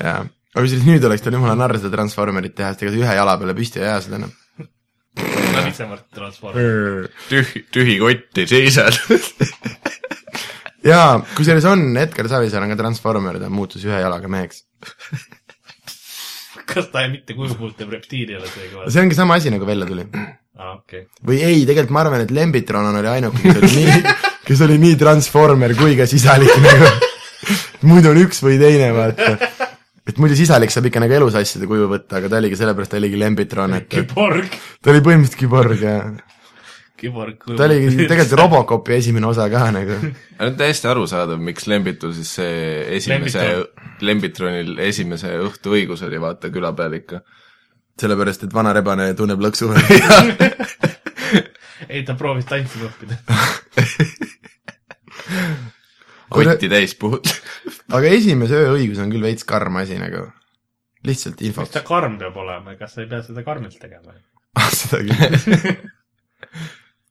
jaa , aga siis nüüd oleks tal jumala narr seda Transformerit teha , sest ega sa ühe jala peale püsti ei aja seda enam .
läbisemalt Transformer .
tühi , tühi kotti seisad .
jaa , kusjuures on , Edgar Savisaar on ka Transformer , ta muutus ühe jalaga meheks .
kas ta mitte kujupuult teeb reptiili ole seega või ?
see ongi sama asi , nagu välja tuli
aa , okei .
või ei , tegelikult ma arvan , et Lembitron oli ainuke , kes oli nii , kes oli nii Transformer kui ka sisalik nagu . muidu on üks või teine , vaata . et muidu sisalik saab ikka nagu elus asjade kuju võtta , aga ta oligi , sellepärast ta oligi Lembitron , et et
Kiborg ,
ta oli põhimõtteliselt küborg ja
Kiborg .
ta oligi tegelikult . Robocopi esimene osa ka nagu .
on täiesti arusaadav , miks Lembitul siis see esimese , Lembitronil esimese õhtu õigus oli vaata küla peal ikka .
sellepärast , et vana rebane tunneb lõksu .
ei , ta proovis tantsima õppida .
kotti täis puhud .
aga esimese öö õigus on küll veits karm asi nagu . lihtsalt
miks
infoks
ta . karm peab olema , kas sa ei pea seda karmilt tegema ?
ah, . seda küll .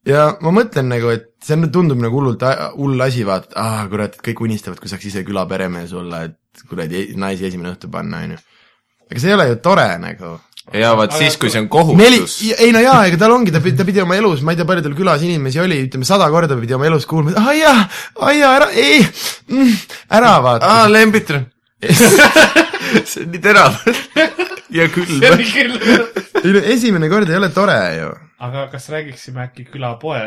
ja ma mõtlen nagu , et see on , tundub nagu hullult a- hull asi , vaata , aa ah, kurat , kõik unistavad , kui saaks ise küla peremees olla , et kuradi e- naisi esimene õhtu panna , on ju . aga see ei ole ju tore nagu .
ja vaat siis , kui see on
neli
kohustus ,,
ei no jaa , ega tal ongi , ta pidi , ta pidi oma elus , ma ei tea , palju tal külas inimesi oli , ütleme sada korda pidi oma elus kuulma , et ai jaa , ai jaa , ära , ei mm, , ära vaata .
aa , Lembitron . see on nii terav
see
ja külm .
oli küll .
ei no esimene kord ei ole tore ju .
aga kas räägiksime äkki külapoe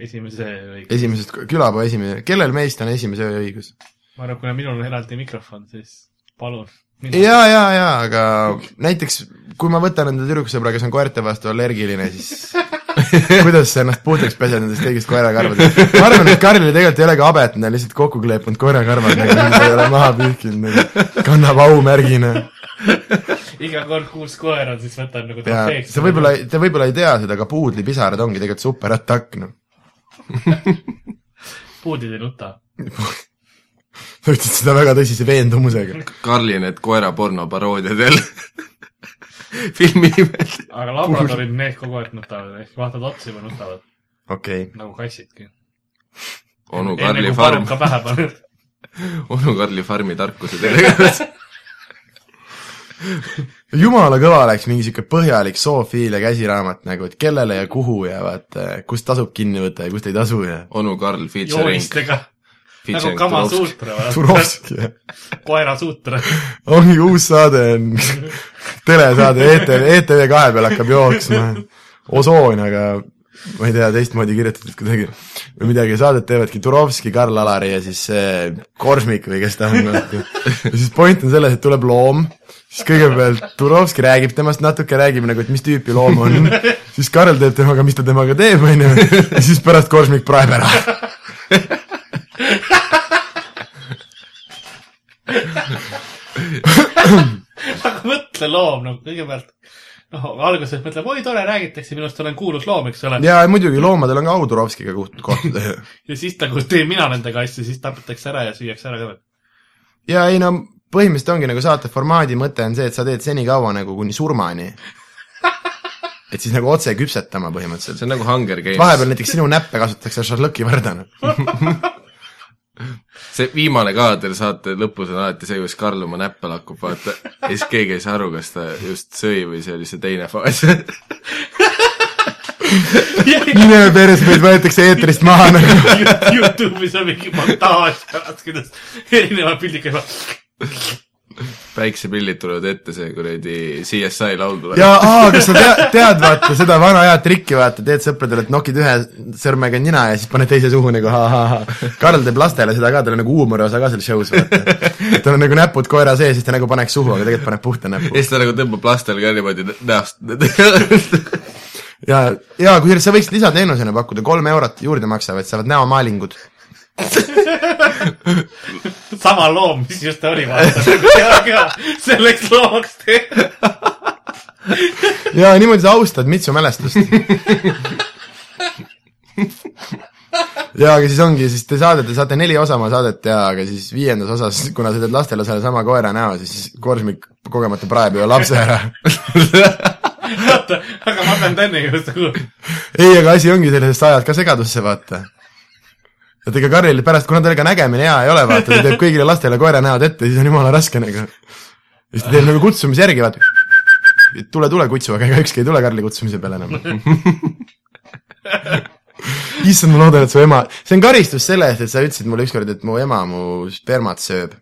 esimese õige ?
esimesest , külapoe esimene , kellel meist on esimese öö õigus ?
ma arvan , kuna minul on eraldi mikrofon , siis palun .
ja , ja , ja , aga näiteks kui ma võtan enda tüdruksõbra , kes on koerte vastu allergiline , siis kuidas sa ennast puhtaks pesed nendest kõigist koerakarvadest ? ma arvan , et Karlil tegelikult ei ole ka habet , nad on lihtsalt kokku kleepunud koerakarvad , nad ei ole maha pühkinud , nagu kannab aumärgina .
iga kord , kui uus koer on , siis võtan nagu
ja
trofeeks .
sa võib-olla , te võib-olla ei tea seda , aga puudlipisarad ongi tegelikult superatakk , noh .
puudid ei nuta .
sa ütlesid seda väga tõsise veendumusega .
Karli need koeraporno paroodiad jälle . filmi nimed .
aga labradorid , need kogu aeg nutavad , ehk vaatad otsa juba nutavad ,
okei okay. ,
nagu kassidki .
onu
enne
Nagu Karli
kui
farm ,
paruka pähe paned .
onu Karli farmi tarkused järjekorras .
jumala kõva oleks mingi sihuke põhjalik zoofiilia käsiraamat nagu , et kellele ja kuhu ja vaata , kust tasub kinni võtta ja kust ei tasu ja
onu Karl featuring .
joonistega . nagu
featuring
kama
Turovski.
suutra ,
Turovski , jah .
koera suutra .
ongi uus saade on telesaade E ETV , ETV kahe peal hakkab jooksma . osoon , aga ma ei tea , teistmoodi kirjutatud kuidagi või midagi , saadet teevadki Turovski , Karl Alari ja siis see Korsmik või kes ta on . ja siis point on selles , et tuleb loom , siis kõigepealt Turovski räägib temast natuke , räägib nagu , et mis tüüpi loom on , siis Karl teeb temaga , mis ta temaga teeb , on ju , ja siis pärast Korsmik praeb ära .
aga mõtle loom , no kõigepealt , noh , alguses mõtleb , oi tore , räägitakse , minust olen kuulus loom , eks ole .
ja muidugi loomadel on ka au Turovskiga koht- kohtuda ju
ja siis nagu teen mina nendega asju , siis tapetakse ära ja süüakse ära ka .
ja ei no põhimõtteliselt ongi nagu saate formaadi mõte on see , et sa teed senikaua nagu kuni surmani . et siis nagu otse küpsetama põhimõtteliselt .
see on nagu Hunger Games .
vahepeal näiteks sinu näppe kasutatakse noh. šarlõki vardana .
see viimane kaader saate lõpus on alati see , kus Karl oma näppe lakub , vaata . ja siis keegi ei saa aru , kas ta just sõi või see oli see teine faas .
mine peres , meid võetakse eetrist maha nagu .
Youtube'is on mingi montaaž pärast , kuidas erinevad pildid käivad .
päiksepillid tulevad ette , see kuradi CSI laul tuleb .
ja aa , kas sa tead , tead vaata seda vana head trikki , vaata , teed sõpradele , et nokid ühe sõrmega nina ja siis paned teise suhu nagu ha-ha-ha . Karl teeb lastele seda ka , tal on nagu huumoriosa ka seal show's , vaata . tal on nagu näpud koera sees , siis ta nagu paneks suhu , aga tegelikult paneb puhta näpu
ja . siis ta nagu tõmbab lastele ka niimoodi nä- näost .
ja , ja kusjuures sa võiksid lisateenusena pakkuda , kolm eurot juurde maksavad , saavad näomaalingud .
sama loom , mis just oli , vaata . selleks loomaks tehti .
ja niimoodi sa austad Mitsu mälestust . ja , aga siis ongi , siis te saadete , saate neli osa oma saadet teha , aga siis viiendas osas , kuna sa teed lastele selle sama koera näo , siis Korsmik kogemata praeb ühe lapse ära .
oota , aga ma pean Tõnni nagu- juurde kuulama .
ei , aga asi ongi selles , et sa ajad ka segadusse , vaata . et ega Karlil pärast , kuna tal ega nägemine hea ei ole , vaata , ta teeb kõigile lastele koera näod ette , siis on jumala raske nagu . siis ta teeb nagu kutsumise järgi , vaata . tule , tule , kutsu , aga ega ükski ei tule Karli kutsumise peale enam . issand , ma loodan , et su ema , see on karistus selle eest , et sa ütlesid mulle ükskord , et mu ema mu spermat sööb .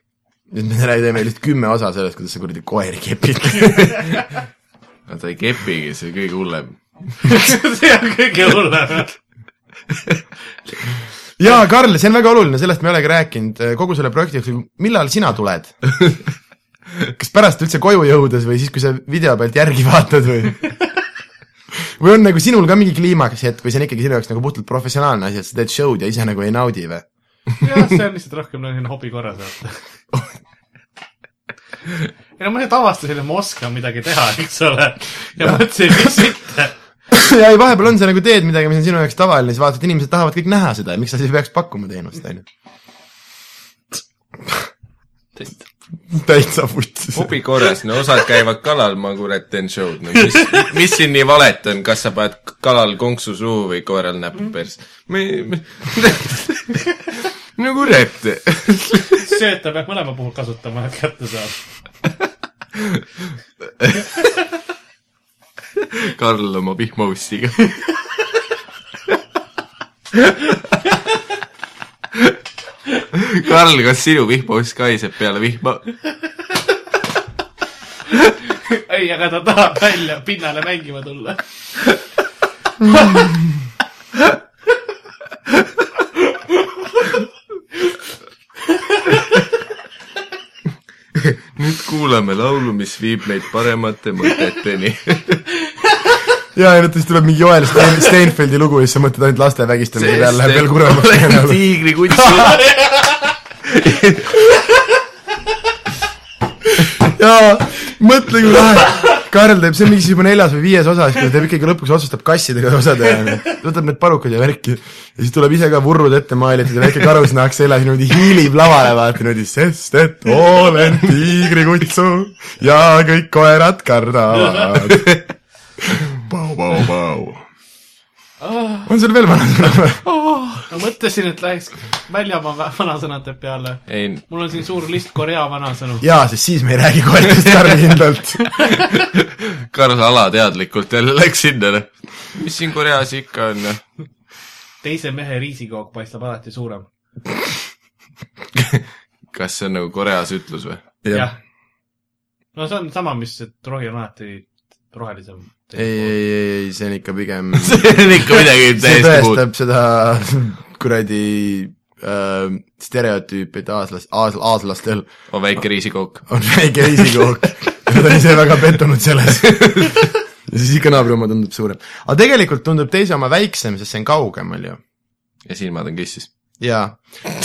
nüüd me teeme lihtsalt kümme osa sellest , kuidas sa kuradi koeri kepid .
no ta ei kepigi , see on kõige hullem .
see on kõige hullem .
jaa , Karl , see on väga oluline , sellest me ei olegi rääkinud kogu selle projekti jooksul , millal sina tuled ? kas pärast üldse koju jõudes või siis , kui sa video pealt järgi vaatad või ? või on nagu sinul ka mingi kliimaks hetk või see on ikkagi sinu jaoks nagu puhtalt professionaalne asi , et sa teed show'd ja ise nagu ei naudi või ?
jah , see on lihtsalt rohkem nagu selline hobi korras , vaata . ei no ma nüüd avastasin , et ma oskan midagi teha , eks ole . ja mõtlesin , miks mitte .
ja ei , vahepeal on , sa nagu teed midagi , mis on sinu jaoks tavaline , siis vaatad , inimesed tahavad kõik näha seda ja miks sa siis peaks pakkuma teenust , on ju . täitsa vutis .
hobi korras , no osad käivad kalal , ma kurat teen show'd , no mis , mis siin nii valet on , kas sa paned kalal konksu suhu või koeral näppu persse ? me , nagu me , no kurat .
sööta peab mõlema puhul kasutama , et kätte saada .
Karl oma pihmaussiga . Karl , kas sinu vihmauss kaiseb peale vihma ?
ei , aga ta tahab välja pinnale mängima tulla .
nüüd kuulame laulu , mis viib meid paremate mõteteni .
ja , ja nüüd siis tuleb mingi Joel Stein- Steinfeldi lugu ja siis sa mõtled ainult laste vägistamise peale , läheb veel kurvemaks . nagu.
tiigri kutsu .
jaa , mõtle kui lahe . Karl teeb , see on mingi siis juba neljas või viies osa , siis kui ta teeb ikkagi lõpuks otsustab kassidega osa teha , võtab need parukad ja värki ja siis tuleb ise ka vurrud ette maalitud ja väike karusnahk seljas niimoodi hiilib lavale , vaata niimoodi , sest et olen tiigrikutsu ja kõik koerad kardavad . on sul veel vanasõna või ?
ma mõtlesin , et läheks väljamaa va- vanasõnade peale .
ei ,
mul on siin suur list Korea vanasõnu .
jaa , sest siis me ei räägi koertest tarvikindlalt .
Karl alateadlikult jälle läks sinna , noh . mis siin Koreas ikka on , noh .
teise mehe riisikook paistab alati suurem .
kas see on nagu Koreas ütlus või ?
jah . no see on sama , mis , et rohi on alati rohelisem .
ei , ei , ei , ei , see on ikka pigem
see on ikka midagi
see
täiesti muud .
tõestab seda kuradi äh, stereotüüpi , et aaslas- , aas- , aaslastel
on Oh, väike riisikook .
on väike reisikook ja nad on ise väga pettunud selles . ja siis ikka naabri oma tundub suurem . aga tegelikult tundub teise oma väiksem , sest see on kaugemal ju .
ja silmad on kissis .
jaa ,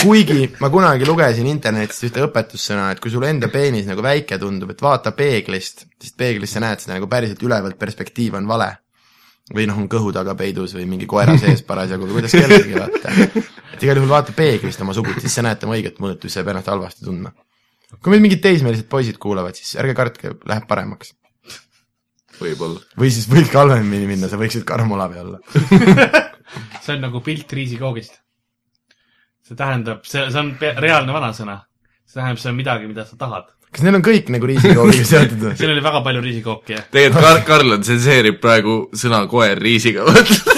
kuigi ma kunagi lugesin internetist ühte õpetussõna , et kui sul enda peenis nagu väike tundub , et vaata peeglist , sest peeglist sa näed seda nagu päriselt ülevalt , perspektiiv on vale . või noh , on kõhu taga peidus või mingi koera sees parasjagu või kuidas kellelgi vaata . et igal juhul vaata peeglist oma sugut , siis sa näed tema õiget mõõtu , siis sa ei pea ennast halvasti tundma . kui meil mingid teismelised poisid kuulavad , siis ärge kartke , läheb paremaks .
võib-olla .
või siis võidki halvemini minna , sa võiksid Karmo Lavi olla .
see on nagu pilt riisikoogist . see tähendab , see , see on pea- reaalne vanasõna . see tähendab , see on midagi , mida sa tahad .
kas neil on kõik nagu riisikoogiga seotud või ?
seal oli väga palju riisikooki , jah .
tegelikult Kar- , Karl on tsenseerib praegu sõna koer riisiga , vaata .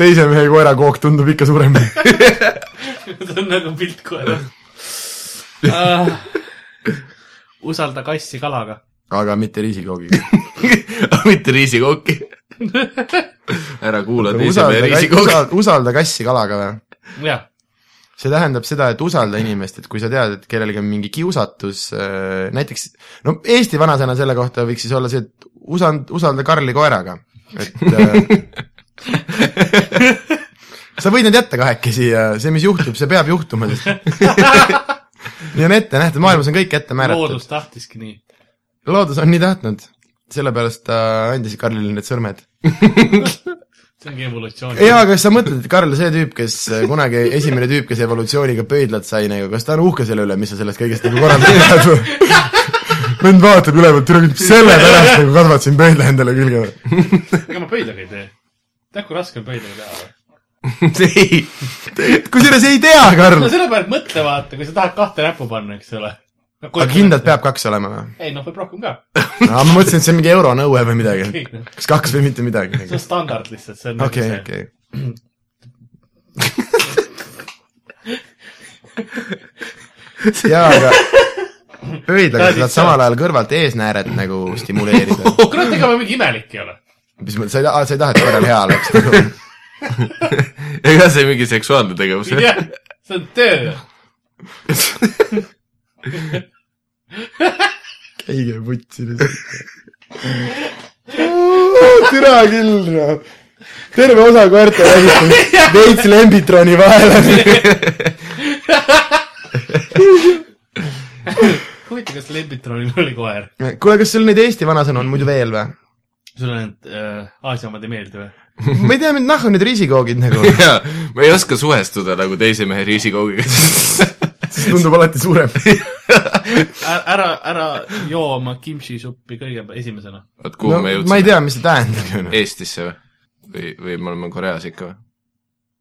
teise mehe koerakook tundub ikka suurem .
ta on nagu pilt kohe uh, . usalda kassi kalaga .
aga mitte riisikoogiga .
mitte riisikooki . ära kuula teise
usalda,
mehe
kass-
riisikooki .
usalda, usalda kassi kalaga või ?
jah ,
see tähendab seda , et usalda inimest , et kui sa tead , et kellelgi on mingi kiusatus , näiteks no Eesti vanasõna selle kohta võiks siis olla see , et usand- , usalda Karli koeraga , et äh, sa võid nad jätta kahekesi ja see , mis juhtub , see peab juhtuma , sest nii on ette nähtud , maailmas on kõik ette määratud .
loodus tahtiski nii .
loodus on nii tahtnud , sellepärast ta andis Karlile need sõrmed .
see ongi evolutsioon .
jaa , kas sa mõtled , et Karl , see tüüp , kes äh, kunagi esimene tüüp , kes evolutsiooniga pöidlad sai nagu , kas ta on uhke selle üle , mis sa sellest kõigest nagu korraldada tead või ? vend vaatab ülevalt , tule küll , sellepärast nagu kasvatasin pöidla endale külge või ?
ega ma pöidlaga ei tee . tead , kui raske on pöidlaga teha või ?
ei ,
kusjuures ei tea , Karl
no . selle peale mõtle , vaata , kui sa tahad kahte näppu panna , eks ole .
aga kindlalt ? peab kaks olema või ?
ei noh , võib rohkem ka .
aa , ma mõtlesin , et see on mingi euronõue või midagi . kas kaks või mitte midagi
see on . standard lihtsalt , see on
okei ,
nagu see
okei . jaa , aga pöidlaga saad samal ajal kõrvalt eesnääret nagu stimuleerida .
okay. . Oh, kurat , ega ma mingi imelik ei ole .
mis mõttes , sa ei taha , sa ei taha , et korral hea oleks nagu .
ega see mingi seksuaalne tegevus ei ole .
jah , see on töö .
käige putsi lihtsalt . türa küll , noh . terve osa koerte vägistab veits lembitroni vahele .
huvitav , kas Lembitronil oli koer ?
kuule , kas sul neid Eesti vanasõnu on muidu veel või ?
sulle need äh, Aasia omad ei meeldi või ?
ma ei tea , mind nahku need riisikoogid nagu ,
jaa , ma ei oska suhestuda nagu teise mehe riisikoogiga .
siis tundub alati suurem .
ära , ära joo oma kimchi-suppi kõigepealt esimesena .
vot kuhu
no
no, me
ma ei
jõudsime ,
tea , mis see tähendab ju noh .
Eestisse või ? või , või me oleme Koreas ikka või ?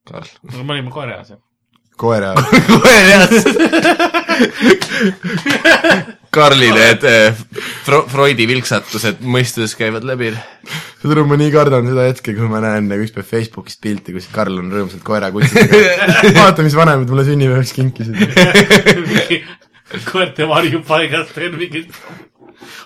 Karl .
me olime Koreas , jah .
koera .
Koreas Karli need eh, Fro- , Freudi vilksatused mõistus käivad läbi .
saad aru , ma nii kardan seda hetke , kui ma näen nagu ükspäev Facebookist pilti , kus Karl on rõõmsalt koerakutsidega . vaata , mis vanemad mulle sünnipäevaks kinkisid .
koerte varjupaigast veel mingid .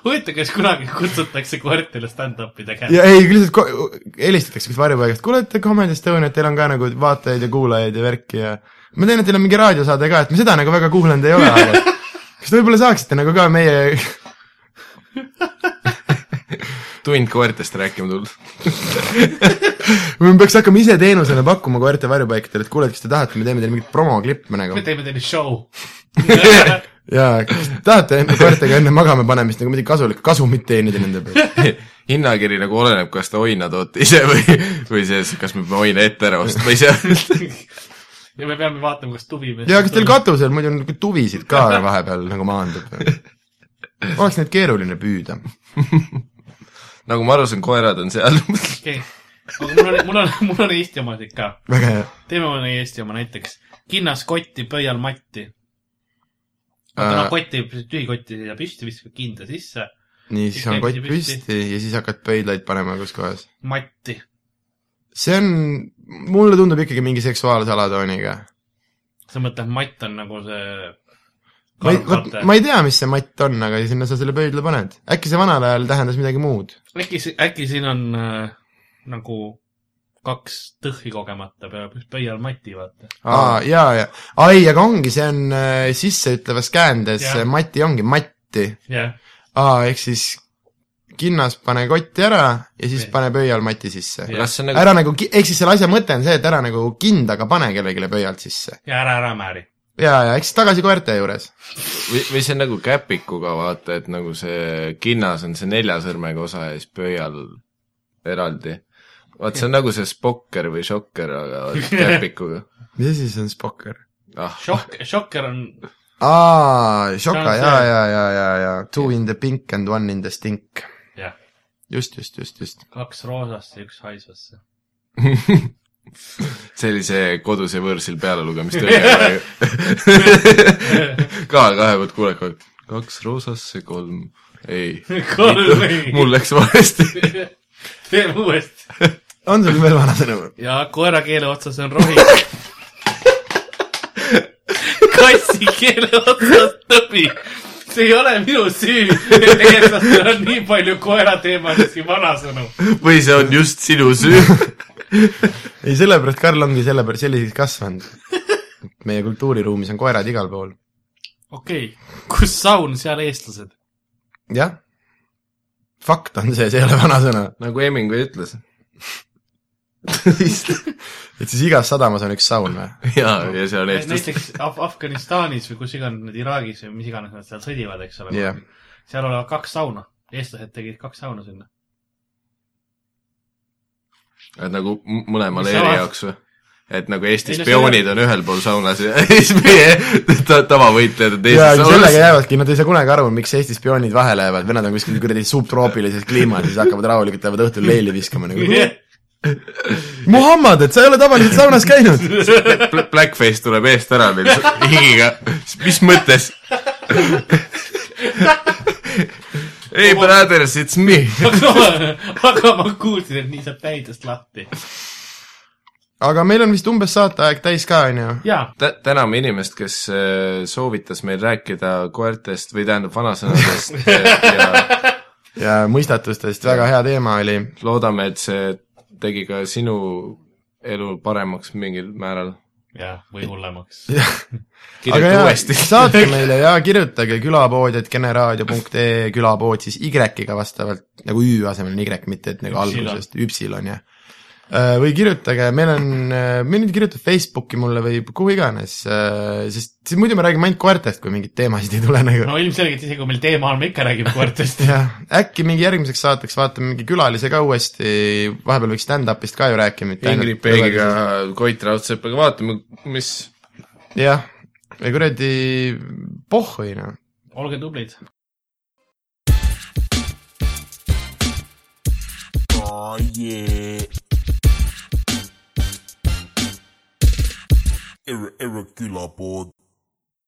huvitav , kas kunagi kutsutakse koertele stand-up'i tegema ?
ja ei , lihtsalt ko- helistatakse kuskilt varjupaigast , kuule , et Comedy Estoniat , teil on ka nagu vaatajaid ja kuulajaid ja värki ja ma tean , et teil on mingi raadiosaade ka , et me seda nagu väga kuulanud ei ole , aga kas te võib-olla saaksite nagu ka meie
tund koertest rääkima tulnud .
või me peaks hakkama ise teenusena pakkuma koerte varjupaikadele , et kuule , et kas te tahate , me teeme teile mingit promoklippe nagu
me teeme teile show .
jaa , kas te tahate enda koertega enne magama panemist nagu midagi kasulikku , kasumit teenida nende pealt ?
hinnakiri nagu oleneb , kas te oina toote ise või , või siis , kas me peame oina ette ära ostma ise .
ja me peame vaatama , kas tuvi mees
ja kas teil katusel muidu on nagu tuvisid ka vahepeal nagu maandub ? oleks neid keeruline püüda .
nagu ma aru saan , koerad on seal .
okei okay. , aga mul on , mul on , mul on Eesti omasid ka .
väga hea .
teeme mõne Eesti oma näiteks . kinnas kotti , pöial matti .
Äh,
täna kotti , tühi kotti siia püsti , viskab kinda sisse ,
nii , siis on
Siis
kott
käib see püsti.
püsti ja siis hakkad pöidlaid panema , kus kohas .
matti .
see on , mulle tundub ikkagi mingi seksuaalse alatooniga .
sa mõtled , matt on nagu see
ma ei , ma ei tea , mis see matt on , aga sinna sa selle pöidla paned . äkki see vanal ajal tähendas midagi muud ?
äkki , äkki siin on äh, nagu kaks tõhvi kogemata peab just pöial mati , vaata .
aa , jaa , jaa . ai , aga ongi , see on äh, sisseütlevas käändes
Jah. ,
mati ongi matti .
jah ,
aa , ehk siis kinnas pane kotti ära ja siis
Nii.
pane pöial mati sisse .
Jah.
kas see on nagu ,
ära nagu , ehk siis selle asja mõte on see , et ära nagu kindaga pane kellelegi pöialt sisse .
ja ära , ära määri .
jaa , jaa , ehk siis tagasi koerte juures .
või , või see on nagu käpikuga , vaata , et nagu see kinnas on see nelja sõrmega osa ja siis pöial eraldi . vaat see on nagu see spokker või šokker , aga vaat käpikuga .
mis asi see on , spokker ?
ah ,
Šokk , šokker on ,
aa , Shoka ,
See on
jaa ,
see.
jaa , jaa , jaa , jaa . Two in the pink and one in the stink .
jah ,
just , just , just , just .
kaks roosasse , üks haisvasse .
see oli see kodus ja võõrsil pealelugemist oli ka kahe poolt kuulekalt , kaks roosasse , kolm , ei ,
kolm ei .
mul läks valesti .
teeme uuesti .
on sul veel vanasõnu ?
ja koera keele otsas on rohi . kassi keele otsas tõbi . see ei ole minu süü , et eestlastel on nii palju koerateemalisi vanasõnu .
või see on just sinu süü .
ei , sellepärast Karl ongi sellepärast selliseks kasvanud . meie kultuuriruumis on koerad igal pool .
okei okay. , kus saun , seal eestlased .
jah , fakt on see , see ei ole vanasõna .
nagu Hemingway ütles .
et siis igas sadamas on üks saun või ?
jaa , ja see on eestlaste
näiteks Af- , Afganistanis või kus iganes need Iraagis või mis iganes nad seal sõdivad , eks ole
Jah.
seal olevat kaks sauna , eestlased tegid kaks sauna sinna .
et nagu m- mõlema
Mis
leeri
samas?
jaoks või ? et nagu Eestis
Ei, no see
spioonid on ühel pool saunas ja siis meie ta- tavavõitlejad on
jaa ,
teises
aga sellega
saunas .
jäävadki , nad ei saa kunagi aru , miks Eesti spioonid vahele jäävad , vennad on kuskil kuradi subtroopilises kliimas ja siis hakkavad rahulikult , lähevad õhtul leili viskama nagu . Muhammad , et sa ei ole tavaliselt saunas käinud ?
Blackface tuleb eest ära meil s- higiga , mis mõttes ? ei , brothers , it's me .
aga ma kuulsin , et nii saab täidest lahti .
aga meil on vist umbes saateaeg täis ka , on ju ?
jaa ,
Tä- , täname inimest , kes äh, soovitas meil rääkida koertest või tähendab vanasõnadest äh, ja
ja mõistatustest , väga hea teema oli .
loodame , et see tegi ka sinu elu paremaks mingil määral .
jaa , või hullemaks .
aga
kirjuta uuesti .
saatke meile ja kirjutage külapood.generaadio.ee , külapood siis Y-iga vastavalt , nagu Ü asemel on Y , mitte et nagu
Üpsilon.
algusest , üpsilon jah . Või kirjutage , meil on , meil nüüd kirjutab Facebooki mulle või kuhu iganes , sest siis muidu me räägime ainult koertest , kui mingeid teemasid ei tule nagu .
no ilmselgelt isegi kui meil teema on , me ikka räägime koertest .
jah , äkki mingi järgmiseks saateks vaatame mingi külalise ka uuesti , vahepeal võiks stand-up'ist ka ju rääkima .
Ingrid Peegiga , Koit Raudsepaga , vaatame , mis
jah , või kuradi pohhui noh .
olge tublid .
Oh yeah. Ir- irregular board.